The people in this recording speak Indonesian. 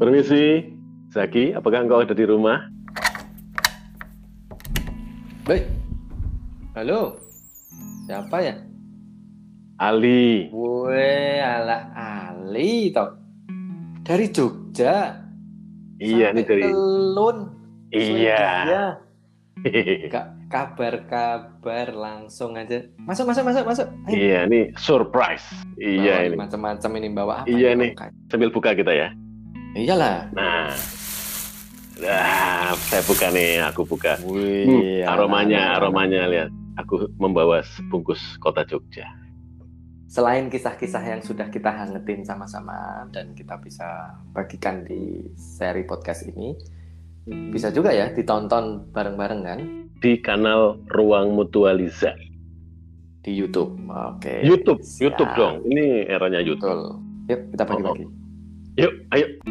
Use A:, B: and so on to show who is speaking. A: Permisi, Zaki, apakah engkau ada di rumah?
B: Baik. Halo. Siapa ya?
A: Ali,
B: Woi, ala Ali toh. Dari Jogja.
A: iya ini
B: Sampai
A: dari
B: Telun.
A: iya.
B: Surabaya. Nggak kabar-kabar langsung aja. Masuk, masuk, masuk, masuk. Ayo.
A: Iya, ini surprise.
B: Bawa
A: Iya ini.
B: Macam-macam ini bawa apa?
A: Iya, nih.
B: ini?
A: Sambil buka kita ya.
B: Iyalah.
A: Nah. Nah, saya buka nih, aku buka.
B: Wih,
A: Hmm,
B: ala, ala,
A: aromanya,
B: ala.
A: aromanya lihat. Aku membawa sebungkus kota Jogja.
B: Selain kisah-kisah yang sudah kita hangetin sama-sama dan kita bisa bagikan di seri podcast ini, bisa juga ya ditonton bareng-bareng kan
A: Di kanal Ruang Mutualiza.
B: di YouTube. Oke.
A: YouTube, Ya,
B: Siap.
A: YouTube Oh, dong. Ini eranya YouTube.
B: Betul. Yuk, kita bagi-bagi.
A: Yuk, ayo.